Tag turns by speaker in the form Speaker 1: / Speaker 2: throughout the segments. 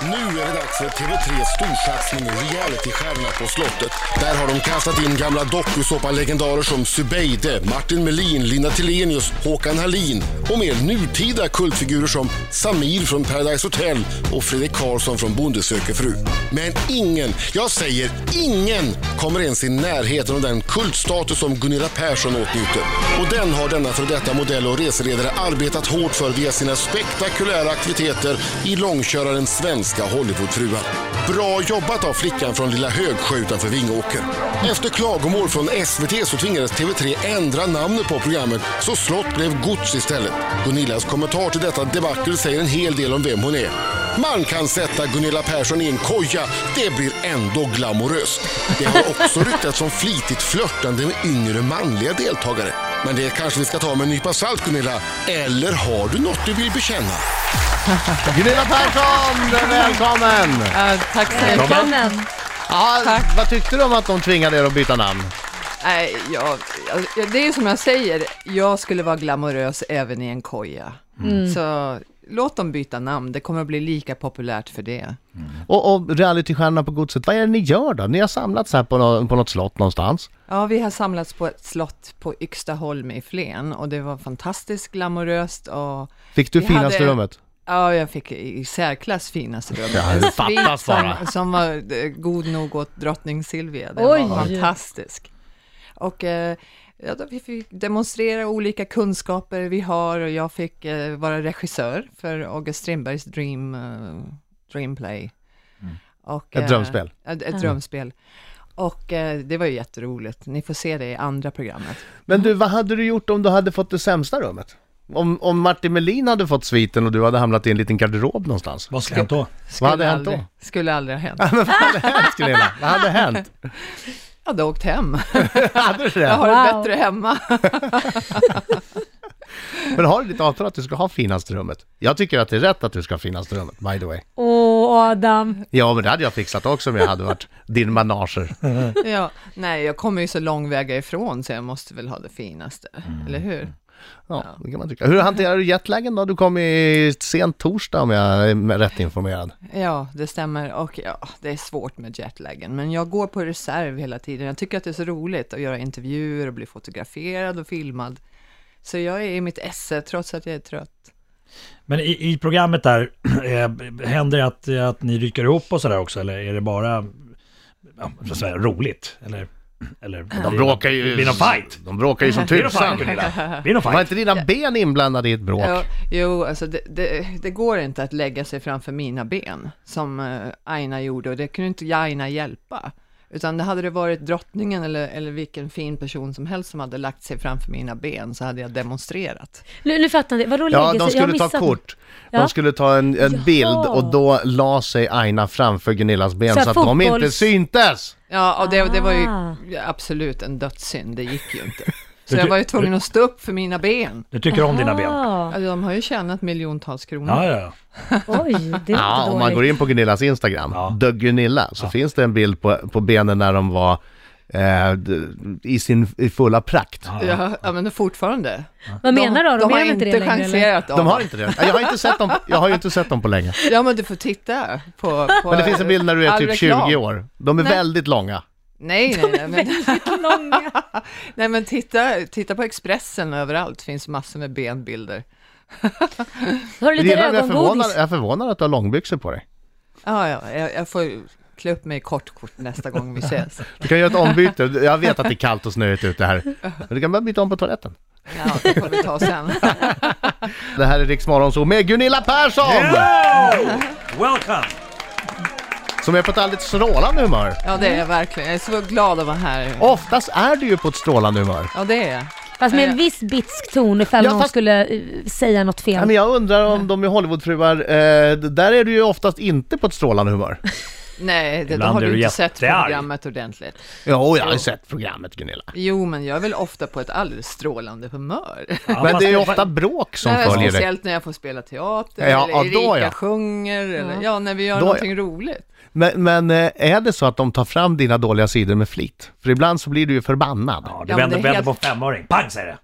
Speaker 1: Nu är det dags för TV3 storsatsning Realitystjärna på slottet. Där har de kastat in gamla dokusåpa-legendarer som Zubeide, Martin Melin, Linda Telenius, Håkan Hallin och mer nutida kultfigurer som Samir från Paradise Hotel och Fredrik Karlsson från Bonde söker fru. Men ingen, jag säger ingen, kommer ens i närheten av den kultstatus som Gunilla Persson åtnjuter. Och den har denna för detta modell och reseledare arbetat hårt för via sina spektakulära aktiviteter i långköraren Svenska Hollywoodfruar. Bra jobbat av flickan från lilla Högsjö utanför Vingåker. Efter klagomål från SVT så tvingades TV3 ändra namnet på programmet så Slott blev Gods istället. Gunillas kommentar till detta debacle säger en hel del om vem hon är. Man kan sätta Gunilla Persson i en koja, det blir ändå glamoröst. Det har också ryktats om flitigt flörtande med yngre manliga deltagare. Men det kanske vi ska ta med en nypa salt Gunilla. Eller har du något du vill bekänna?
Speaker 2: Gunilla Persson, välkommen!
Speaker 3: Ja, tack så mycket.
Speaker 4: Välkommen!
Speaker 2: Ja,
Speaker 3: Tack.
Speaker 2: Vad tyckte du om att de tvingade er att byta namn?
Speaker 3: Nej, jag, jag, det är ju som jag säger, jag skulle vara glamorös även i en koja. Så låt dem byta namn, det kommer att bli lika populärt för det.
Speaker 2: Och, och realitystjärnorna på Godset, vad är det ni gör då? Ni har samlats här på, nå- på något slott någonstans.
Speaker 3: Ja, vi har samlats på ett slott på Yxtaholm i Flen och det var fantastiskt glamoröst och...
Speaker 2: Fick du
Speaker 3: vi
Speaker 2: finaste rummet?
Speaker 3: Ja, jag fick i i särklass finaste rummet.
Speaker 2: Ja, det
Speaker 3: En
Speaker 2: fattas
Speaker 3: svit
Speaker 2: bara.
Speaker 3: Som, som var eh, god nog åt drottning Silvia. Den
Speaker 4: Oj.
Speaker 3: var fantastisk. Och eh, ja, då vi fick demonstrera olika kunskaper vi har och jag fick eh, vara regissör för August Strindbergs Dream, eh, Dreamplay. Och,
Speaker 2: Mm.
Speaker 3: eh,
Speaker 2: Ett drömspel.
Speaker 3: Ett, ett drömspel. Och eh, det var ju jätteroligt. Ni får se det i andra programmet.
Speaker 2: Men du, vad hade du gjort om du hade fått det sämsta rummet? Om, om Martin Melin hade fått sviten och du hade hamnat i en liten garderob någonstans?
Speaker 5: Vad ska jag då?
Speaker 3: Skulle
Speaker 2: hade hänt
Speaker 3: aldrig, Skulle aldrig ha hänt.
Speaker 2: Men vad hade hänt Gunilla? Vad hade hänt?
Speaker 3: Jag hade åkt hem.
Speaker 2: Hade du
Speaker 3: Jag
Speaker 2: det?
Speaker 3: har det
Speaker 4: Wow.
Speaker 3: bättre hemma.
Speaker 2: Men har du ditt avtal att du ska ha finaste rummet? Jag tycker att det är rätt att du ska ha finaste rummet, by the way.
Speaker 4: Åh Adam,
Speaker 2: Ja, men det hade jag fixat också om jag hade varit din manager.
Speaker 3: Ja, nej, jag kommer ju så lång väga ifrån så jag måste väl ha det finaste, eller hur?
Speaker 2: Ja, det kan man tycka. Hur hanterar du jetlagen då? Du kom i sent torsdag om jag är rätt informerad.
Speaker 3: Ja, det stämmer och ja, det är svårt med jetlagen, men jag går på reserv hela tiden. Jag tycker att det är så roligt att göra intervjuer och bli fotograferad och filmad. Så jag är i mitt esse trots att jag är trött.
Speaker 5: Men i, i programmet där, eh, händer det att, att ni rycker ihop och sådär också? Eller är det bara ja, vad ska jag säga, roligt? Eller, eller
Speaker 2: De bråkar ju...
Speaker 5: Blir det någon fight?
Speaker 2: De bråkar ju som
Speaker 5: Blir det någon
Speaker 2: tusan.
Speaker 5: fight Gunilla? Blir det någon
Speaker 2: Var
Speaker 5: fight?
Speaker 2: inte dina ben inblandade i ett bråk?
Speaker 3: Ja, jo, alltså det, det, det går inte att lägga sig framför mina ben som eh, Aina gjorde och det kunde inte Jaina hjälpa. Utan det hade det varit drottningen eller, eller vilken fin person som helst som hade lagt sig framför mina ben så hade jag demonstrerat.
Speaker 4: nu, nu fattar ni. Vadå
Speaker 2: Ja,
Speaker 4: lägger
Speaker 2: de
Speaker 4: sig? Jag har
Speaker 2: skulle ta
Speaker 4: missat.
Speaker 2: kort.
Speaker 4: Ja.
Speaker 2: De skulle ta en, en
Speaker 4: Jaha.
Speaker 2: bild och då la sig Aina framför Gunillas ben så,
Speaker 4: Så här
Speaker 2: att de inte
Speaker 4: fotbolls-
Speaker 2: syntes.
Speaker 3: Ja, och det, det var ju
Speaker 4: Ah.
Speaker 3: absolut en dödssynd, det gick ju inte. Så jag var ju tvungen att stå upp för mina ben.
Speaker 5: Du tycker om dina ben?
Speaker 4: Ah,
Speaker 3: Alltså, de har ju tjänat miljontals kronor.
Speaker 5: Ja, ja, ja.
Speaker 4: oj, det är inte
Speaker 2: Ja, om man går
Speaker 4: dåligt.
Speaker 2: in på Gunillas Instagram,
Speaker 5: Ja.
Speaker 2: The Gunilla, så finns det en bild på, på benen när de var eh, d- i sin i fulla prakt.
Speaker 3: Ja, ja, men fortfarande.
Speaker 4: Vad menar du? De,
Speaker 3: de har
Speaker 4: är inte
Speaker 3: inte
Speaker 4: det längre eller?
Speaker 3: chanserat.
Speaker 2: De har inte det. Jag har, inte sett dem, jag har ju inte sett dem på länge.
Speaker 3: Ja, men du får titta på... på
Speaker 2: Men det finns en bild när du är
Speaker 3: all
Speaker 2: typ
Speaker 3: reklam.
Speaker 2: 20 år. De är
Speaker 3: Nej.
Speaker 2: väldigt långa.
Speaker 3: Nej, nej, nej, men,
Speaker 4: Långa.
Speaker 3: nej, men titta, titta på Expressen överallt, finns massor med benbilder.
Speaker 4: Har du lite
Speaker 2: Gillar du- jag, är förvånad,
Speaker 4: ögongodis?
Speaker 2: jag är förvånad att du har långbyxor på dig.
Speaker 3: Ja, ja, jag, jag får klä upp mig i kortkort nästa gång vi ses.
Speaker 2: Du kan göra ett ombyte. Jag vet att det är kallt och snöigt ute här. Men du kan bara byta om på toaletten.
Speaker 3: Ja, det får vi ta sen.
Speaker 2: Det här är Riks Morgonzoo med Gunilla Persson!
Speaker 5: Hello! Welcome!
Speaker 2: Som är på ett alldeles strålande humör.
Speaker 3: Ja, det är jag verkligen. Jag är så glad att vara här.
Speaker 2: Oftast är du ju på ett strålande humör.
Speaker 3: Ja, det är jag.
Speaker 4: Fast med en viss bitsk ton ifall
Speaker 2: Ja,
Speaker 4: någon
Speaker 2: fast-
Speaker 4: skulle eh, säga något
Speaker 2: Ja,
Speaker 4: fel.
Speaker 2: men jag undrar om de är Hollywoodfruar, eh, d- där är du ju oftast inte på ett strålande humör.
Speaker 3: Nej, det, då
Speaker 5: Ibland
Speaker 3: har
Speaker 5: är
Speaker 3: du
Speaker 5: du
Speaker 3: inte sett
Speaker 5: jättearg.
Speaker 3: programmet ordentligt.
Speaker 2: Jo, jag har ju sett programmet Gunilla.
Speaker 3: Jo, men jag är väl ofta på ett alldeles strålande humör.
Speaker 5: Ja,
Speaker 2: Men
Speaker 5: fast
Speaker 2: det är ju ofta bråk som
Speaker 3: Nej,
Speaker 2: följer dig.
Speaker 3: speciellt när jag får spela teater,
Speaker 2: Ja, ja,
Speaker 3: eller
Speaker 2: då
Speaker 3: Erika
Speaker 2: ja.
Speaker 3: sjunger, eller ja, när vi gör
Speaker 2: Då ja.
Speaker 3: någonting roligt.
Speaker 2: Men, men eh, är det så att de tar fram dina dåliga sidor med flit? För ibland så blir du ju förbannad.
Speaker 5: Ja,
Speaker 3: Ja,
Speaker 5: du
Speaker 3: men
Speaker 5: vänder,
Speaker 3: det är
Speaker 5: vänder
Speaker 3: helt-
Speaker 5: på en femöring. Pang säger det!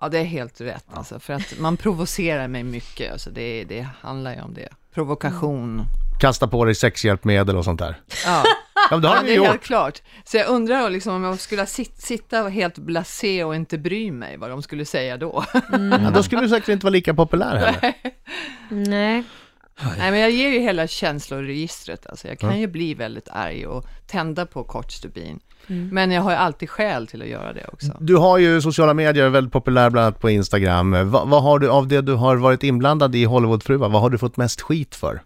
Speaker 3: Ja, det är helt rätt alltså, för att man provocerar mig mycket, alltså, det, det handlar ju om det. Provokation.
Speaker 2: kasta på dig sexhjälpmedel och sånt där.
Speaker 3: Ja.
Speaker 2: Ja, men det har
Speaker 3: Ja,
Speaker 2: vi
Speaker 3: det
Speaker 2: ju
Speaker 3: är
Speaker 2: gjort.
Speaker 3: helt klart. Så jag undrar liksom, om jag skulle sit, sitta och helt blasé och inte bry mig vad de skulle säga då.
Speaker 2: Ja, då skulle du säkert inte vara lika populär heller.
Speaker 4: Nej.
Speaker 3: Nej, men jag ger ju hela känsloregistret. Alltså. Jag kan ju bli väldigt arg och tända på kort stubin. Men jag har ju alltid skäl till att göra det också.
Speaker 2: Du har ju sociala medier, väldigt populär bland annat på Instagram. Va, vad har du av det du har varit inblandad i Hollywoodfruar, vad har du fått mest skit för?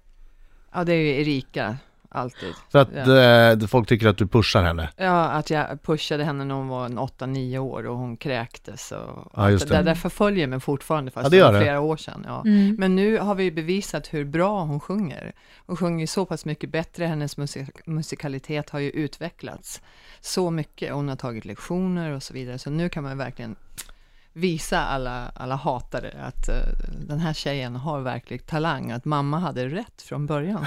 Speaker 3: Ja, det är ju Erika, alltid.
Speaker 2: För att
Speaker 3: Ja.
Speaker 2: eh, folk tycker att du pushar henne.
Speaker 3: Ja, att jag pushade henne när hon var 8-9 år och hon kräktes. Och
Speaker 2: Ja, just
Speaker 3: allt där,
Speaker 2: det.
Speaker 3: där förföljer mig fortfarande, fast
Speaker 2: Ja, det
Speaker 3: det
Speaker 2: gör
Speaker 3: var
Speaker 2: det.
Speaker 3: flera år sedan. Ja. Men nu har vi ju bevisat hur bra hon sjunger. Hon sjunger ju så pass mycket bättre, hennes musik- musikalitet har ju utvecklats så mycket. Hon har tagit lektioner och så vidare, så nu kan man verkligen visa alla, alla hatare att eh, den här tjejen har verklig talang, att mamma hade rätt från början.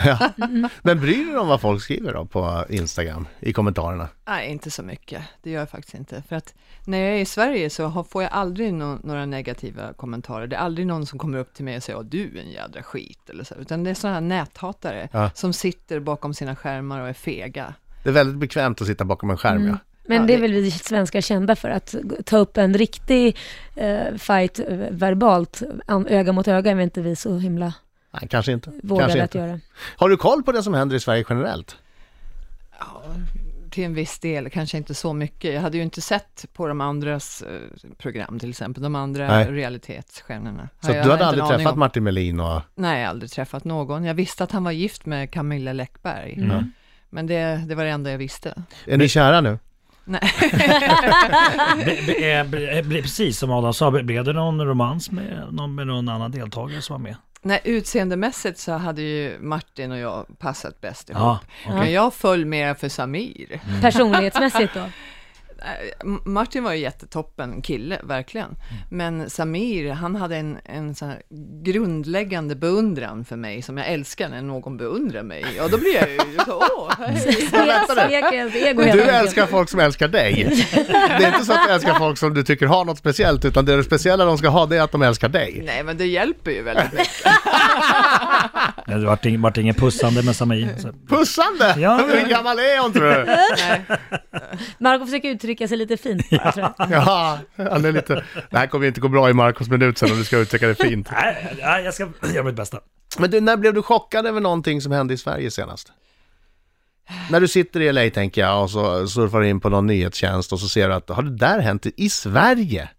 Speaker 2: Men bryr du dig om vad folk skriver då på Instagram, i kommentarerna?
Speaker 3: Nej, inte så mycket. Det gör jag faktiskt inte. För att när jag är i Sverige så har, får jag aldrig nå- några negativa kommentarer. Det är aldrig någon som kommer upp till mig och säger att du är en jädra skit. Eller så. Utan det är sådana här näthatare
Speaker 2: Ja.
Speaker 3: som sitter bakom sina skärmar och är fega.
Speaker 2: Det är väldigt bekvämt att sitta bakom en skärm
Speaker 3: Mm.
Speaker 2: ja.
Speaker 4: Men
Speaker 3: Ja,
Speaker 4: det är
Speaker 3: det-
Speaker 4: väl vi svenskar kända för att g- ta upp en riktig eh, fight eh, verbalt, an, öga mot öga, är väl inte vi så himla
Speaker 2: Nej, kanske inte. Kanske
Speaker 4: vågade att
Speaker 2: inte.
Speaker 4: göra.
Speaker 2: Har du koll på det som händer i Sverige generellt?
Speaker 3: Ja, till en viss del, kanske inte så mycket. Jag hade ju inte sett på de andras eh, program till exempel, de andra
Speaker 2: Nej.
Speaker 3: realitetsstjärnorna.
Speaker 2: Så
Speaker 3: Jag
Speaker 2: att du
Speaker 3: har
Speaker 2: hade
Speaker 3: inte
Speaker 2: aldrig
Speaker 3: en aning
Speaker 2: träffat
Speaker 3: om-
Speaker 2: Martin Melin och...
Speaker 3: Nej, jag har aldrig träffat någon. Jag visste att han var gift med Camilla Läckberg.
Speaker 5: Mm.
Speaker 3: Men det, det var det enda jag visste.
Speaker 2: Är ni kära nu?
Speaker 5: Be, be, eh, bre- eh, bre- precis som Adam sa, be- blev det någon romans med någon, med någon annan deltagare som var med?
Speaker 3: Nej, utseendemässigt så hade ju Martin och jag passat bäst ihop.
Speaker 5: Ja,
Speaker 3: Men jag föll mer för Samir.
Speaker 4: Personlighetsmässigt då?
Speaker 3: M- Martin var ju jättetoppen kille, verkligen. Men Samir, han hade en, en sån här grundläggande beundran för mig som jag älskar när någon beundrar mig. Ja, då blir jag ju så, åh, hej.
Speaker 4: Svekens ego helt
Speaker 2: Du
Speaker 4: enkelt.
Speaker 2: älskar folk som älskar dig. Det är inte så att du älskar folk som du tycker har något speciellt, utan det speciella de ska ha, det är att de älskar dig.
Speaker 3: Nej, men det hjälper ju väldigt mycket.
Speaker 5: Det vart ing- vart ingen pussande med Samir. Så.
Speaker 2: Pussande!
Speaker 5: Ja.
Speaker 2: Hur gammal är hon tror du?
Speaker 4: Marco försöker uttrycka sig lite fint bara, tror jag.
Speaker 2: Ja, han är lite... Det här kommer ju inte gå bra i Marcos minut sen om du ska uttrycka det fint.
Speaker 5: Nej, nej, jag ska göra mitt bästa.
Speaker 2: Men du, när blev du chockad över någonting som hände i Sverige senast? När du sitter i LA tänker jag och så surfar du in på någon nyhetstjänst och så ser du att har det där hänt i Sverige?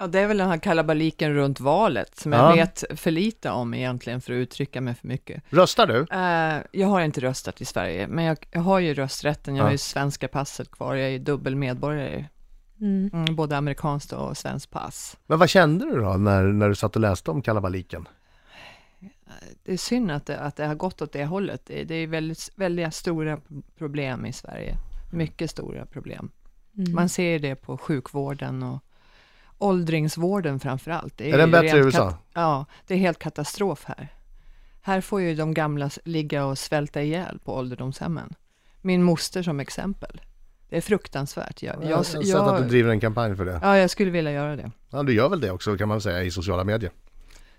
Speaker 3: Ja, det är väl den här kalabaliken runt valet som jag
Speaker 2: Ja.
Speaker 3: vet för lite om egentligen för att uttrycka mig för mycket.
Speaker 2: Röstar du?
Speaker 3: Eh, jag har inte röstat i Sverige, men jag, jag har ju rösträtten. Jag
Speaker 2: Ja.
Speaker 3: har ju svenska passet kvar. Jag är ju dubbel medborgare. Mm, både amerikanskt och svenskt pass.
Speaker 2: Men vad kände du då när, när du satt och läste om kalabaliken?
Speaker 3: Det är synd att det, att det har gått åt det hållet. Det, det är väldigt, väldigt stora problem i Sverige. Mycket stora problem. Man ser det på sjukvården och åldringsvården framför allt. Det
Speaker 2: Är den
Speaker 3: ju
Speaker 2: bättre i
Speaker 3: rent
Speaker 2: USA?
Speaker 3: kat- ja, det är helt katastrof här. Här får ju de gamla s- ligga och svälta ihjäl på ålderdomshemmen. Min moster som exempel. Det är fruktansvärt. Jag,
Speaker 2: Jag har
Speaker 3: jag,
Speaker 2: sett att du
Speaker 3: jag,
Speaker 2: driver en kampanj för det.
Speaker 3: ja, jag skulle vilja göra det.
Speaker 2: Ja, du gör väl det också kan man säga i sociala medier.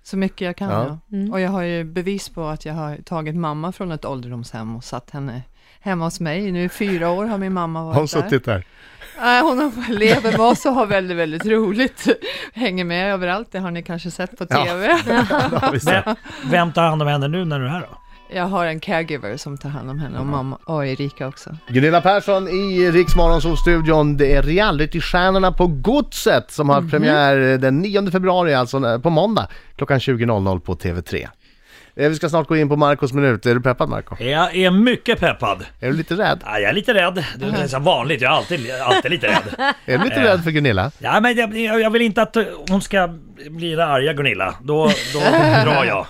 Speaker 3: Så mycket jag kan.
Speaker 2: Ja.
Speaker 3: Ja. Och jag har ju bevis på att jag har tagit mamma från ett ålderdomshem och satt henne hemma hos mig. Nu i fyra år har min mamma varit
Speaker 2: Har hon
Speaker 3: där.
Speaker 2: suttit där?
Speaker 3: Nej, hon har- lever med oss och har väldigt, väldigt roligt. Hänger med överallt, det har ni kanske sett på
Speaker 2: Ja.
Speaker 3: TV.
Speaker 2: Ja, visst.
Speaker 5: Vem, vem tar hand om henne nu när du är här då?
Speaker 3: Jag har en caregiver som tar hand om henne och mamma och Erika också.
Speaker 2: Gunilla Persson i Riksmorgonsolstudion. Det är realitystjärnorna på Godset som har premiär den 9 februari, alltså på måndag klockan 20.00 på TV3. Eh, Vi ska snart gå in på Marcos minut. Är du peppad Marco?
Speaker 5: Jag är mycket peppad.
Speaker 2: Är du lite rädd?
Speaker 5: Ja, jag är lite rädd. Det är som vanligt, jag är alltid, alltid lite rädd.
Speaker 2: Är du lite
Speaker 5: Eh.
Speaker 2: rädd för Gunilla?
Speaker 5: Ja, men jag, jag vill inte att hon ska bli det arga Gunilla. Då, då drar jag.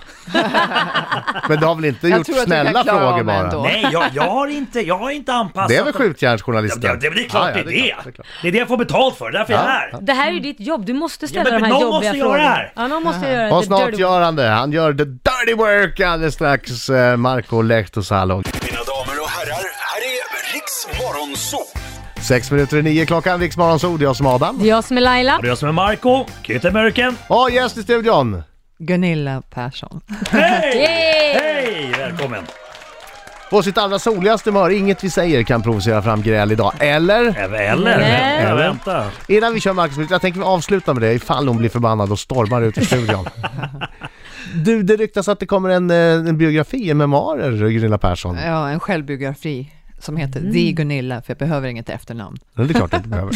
Speaker 2: Men du har väl inte
Speaker 3: Jag
Speaker 2: gjort
Speaker 3: tror att du kan
Speaker 2: snälla
Speaker 3: klara
Speaker 2: frågor
Speaker 3: av
Speaker 2: bara?
Speaker 3: ändå.
Speaker 5: Nej, jag, jag, har inte, jag har inte anpassat...
Speaker 2: Det är väl
Speaker 5: Ja,
Speaker 2: skjutjärnsjournalisten?
Speaker 5: det, det, det är klart
Speaker 2: Ja, ja,
Speaker 5: det, är
Speaker 2: klart,
Speaker 5: det.
Speaker 2: klart.
Speaker 5: Det är det jag får betalt för, därför är jag
Speaker 2: Ja,
Speaker 5: här.
Speaker 2: ja.
Speaker 4: Det här är ju ditt jobb, du måste ställa
Speaker 5: Ja, men
Speaker 4: de här
Speaker 5: någon
Speaker 4: jobbiga
Speaker 5: måste göra
Speaker 4: frågorna.
Speaker 5: det här.
Speaker 4: Ja, någon måste göra
Speaker 2: Och
Speaker 4: the
Speaker 2: snart
Speaker 4: dirty
Speaker 2: gör han det. Han gör the dirty work alldeles strax. eh, Marco Lehtosalo.
Speaker 6: Mina damer och herrar, här är Riks Morgonzoo!
Speaker 2: Sex minuter i nio klockan, Riksmorgonzoo. Det är jag som är Adam.
Speaker 4: Det är jag som är Laila.
Speaker 5: Och det är jag som är Marco, Kyttemörken.
Speaker 2: Och gäst i studion!
Speaker 3: Gunilla Persson.
Speaker 5: Hej!
Speaker 4: Yay!
Speaker 5: Hej! Välkommen! välkommen.
Speaker 2: På sitt allra soligaste humör, inget vi säger kan provocera fram gräl idag. Eller?
Speaker 5: Eller, eller,
Speaker 4: Nej.
Speaker 5: eller vänta.
Speaker 2: Innan vi kör Marcus Birro, jag tänker vi avsluta med det ifall hon blir förbannad och stormar ut i studion. Du, det ryktas att det kommer en, eh, en biografi, en memoarer, Gunilla Persson.
Speaker 4: Eh.
Speaker 3: Ja, en självbiografi som heter The Gunilla, för jag behöver inget efternamn.
Speaker 2: Det är klart att du behöver.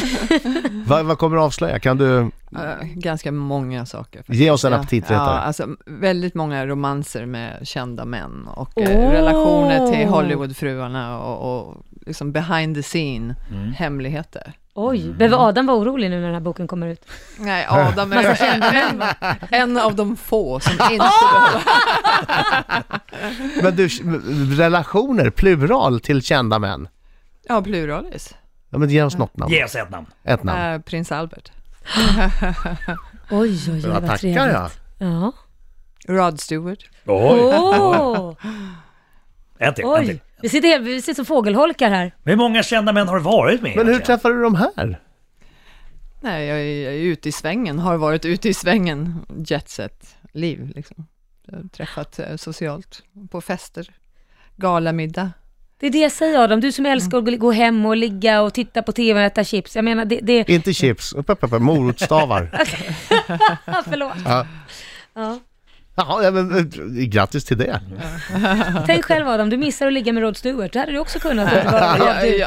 Speaker 2: Vad, vad kommer du avslöja? Kan du
Speaker 3: Eh, ganska många saker. faktiskt.
Speaker 2: ge oss en
Speaker 3: Ja, Ja,
Speaker 2: aptitretare?
Speaker 3: alltså väldigt många romanser med kända män och eh,
Speaker 4: Åh.
Speaker 3: relationer till Hollywoodfruarna och, och liksom behind the scene hemligheter.
Speaker 4: Oj, behöver Adam vara orolig nu när den här boken kommer ut?
Speaker 3: Nej, Adam är en, en av de få som inte behöver.
Speaker 2: Men du, relationer, plural till kända män.
Speaker 3: Ja, pluralis.
Speaker 2: Ja, men ge oss något namn.
Speaker 5: Ge oss ett namn.
Speaker 2: Ett namn.
Speaker 3: Eh, Prins Albert.
Speaker 4: Oj, oj, oj,
Speaker 2: Ja,
Speaker 4: vad
Speaker 2: tackar
Speaker 4: trevligt.
Speaker 2: jag.
Speaker 4: Ja.
Speaker 3: Rod Stewart.
Speaker 5: Oj,
Speaker 4: Åh,
Speaker 5: en till, en till.
Speaker 4: oj. Vi sitter, helt- vi sitter som fågelholkar här.
Speaker 5: Hur många kända män har du varit med
Speaker 2: Men hur
Speaker 5: egentligen?
Speaker 2: träffade du de här?
Speaker 3: Nej, jag är, jag är ute i svängen, har varit ute i svängen, jetset-liv liksom. Jag har träffat eh, socialt, på fester, galamiddag.
Speaker 4: Det är det jag säger Adam, du som älskar att gå hem och ligga och titta på TV och äta chips. Jag menar, det... det...
Speaker 2: Inte chips, upp, upp, upp, morotsstavar.
Speaker 4: Ah, förlåt.
Speaker 2: Ja.
Speaker 4: Ja.
Speaker 2: Jaha, ja, men, eh, grattis till det.
Speaker 4: Tänk själv Adam, du missar att ligga med Rod Stewart. Det hade du också kunnat. om du bara
Speaker 3: Ja,
Speaker 4: valde ut.
Speaker 3: ja,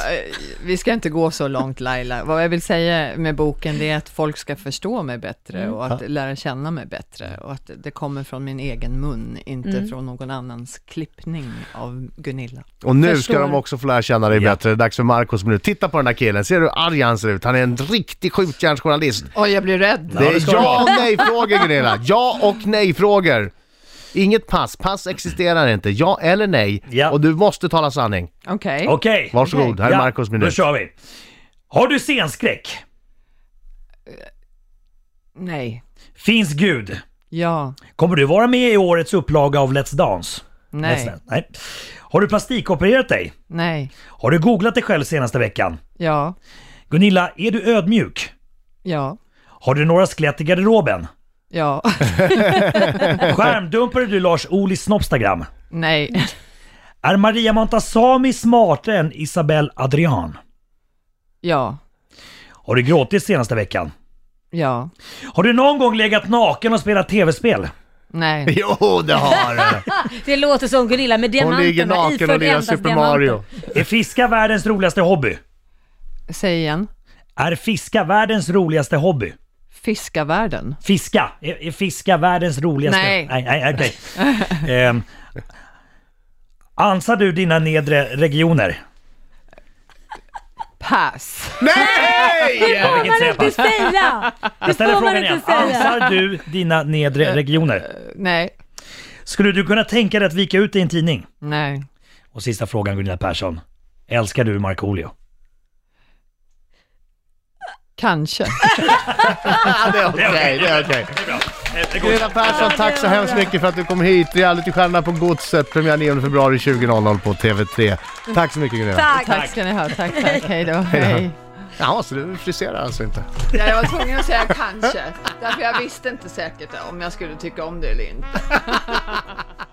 Speaker 3: vi ska inte gå så långt Laila. Vad jag vill säga med boken det är att folk ska förstå mig bättre och att lära känna mig bättre och att det kommer från min egen mun, inte från någon annans klippning av Gunilla.
Speaker 2: Och nu
Speaker 4: Förstår.
Speaker 2: ska de också få lära känna dig
Speaker 5: Ja.
Speaker 2: bättre. Det är dags för Marcos minut. Titta på den här killen, ser du hur arg han ser ut? Han är en riktig skjutjärnsjournalist.
Speaker 3: Oj, jag blir rädd.
Speaker 2: Det
Speaker 5: det
Speaker 2: är
Speaker 5: ska det
Speaker 2: ja
Speaker 5: vara.
Speaker 2: och nej-frågor Gunilla. Ja och nej-frågor. Inget pass, pass existerar inte. Ja eller nej.
Speaker 5: Ja.
Speaker 2: Och du måste tala sanning.
Speaker 3: Okej.
Speaker 5: Okej.
Speaker 2: Varsågod, här är Marcos
Speaker 5: Då
Speaker 2: minut.
Speaker 5: kör vi. Har du scenskräck?
Speaker 3: Nej.
Speaker 5: Finns Gud?
Speaker 3: Ja.
Speaker 5: Kommer du vara med i årets upplaga av Let's Dance? Let's
Speaker 3: Nej.
Speaker 5: Dance. Nej. Har du plastikopererat dig?
Speaker 3: Nej.
Speaker 5: Har du googlat dig själv senaste veckan?
Speaker 3: Ja.
Speaker 5: Gunilla, är du ödmjuk?
Speaker 3: Ja.
Speaker 5: Har du några skelett i garderoben?
Speaker 3: Ja.
Speaker 5: Skärmdumpade du Lars Olis Snopstagram?
Speaker 3: Nej.
Speaker 5: Är Maria Montazami smartare än Isabelle Adrian?
Speaker 3: Ja.
Speaker 5: Har du gråtit senaste veckan?
Speaker 3: Ja.
Speaker 5: Har du någon gång legat naken och spelat tv-spel?
Speaker 3: Nej.
Speaker 2: Jo, det har du.
Speaker 4: Det låter som Gunilla med diamanterna.
Speaker 2: Hon ligger naken och
Speaker 4: iförd
Speaker 2: lirar
Speaker 4: endast
Speaker 2: Super
Speaker 4: diamanter.
Speaker 2: Mario.
Speaker 5: Är fiska världens roligaste hobby?
Speaker 3: Säg igen.
Speaker 5: Är fiska världens roligaste hobby?
Speaker 3: Fiska världen.
Speaker 5: Fiska? Är, är fiska världens roligaste...
Speaker 3: Nej.
Speaker 5: Nej, nej, okej. Ehm, ansar du dina nedre regioner?
Speaker 3: Pass.
Speaker 4: Det får
Speaker 5: vilket
Speaker 4: man
Speaker 5: säger
Speaker 4: inte säga! Det
Speaker 5: Jag ställer
Speaker 4: får man
Speaker 5: frågan igen.
Speaker 4: inte säga. Eh.
Speaker 5: Ansar du dina nedre regioner?
Speaker 3: Nej.
Speaker 5: Skulle du kunna tänka dig att vika ut dig i en tidning?
Speaker 3: Nej.
Speaker 5: Och sista frågan Gunilla Persson. Älskar du Markoolio?
Speaker 3: Kanske.
Speaker 2: Ja, det är okej, det är okej. Gunilla Persson, tack så hemskt mycket för att du kom hit. Realitystjärna på Godset, premiär 9 februari 20.00 på TV3. Tack så mycket Gunilla.
Speaker 4: Tack!
Speaker 3: Tack ska ni ha. Tack, tack. Hej då. Hej.
Speaker 2: Jaha, så du friserar alltså inte?
Speaker 3: Ja, jag var tvungen att säga kanske. Därför jag visste inte säkert om jag skulle tycka om det eller inte.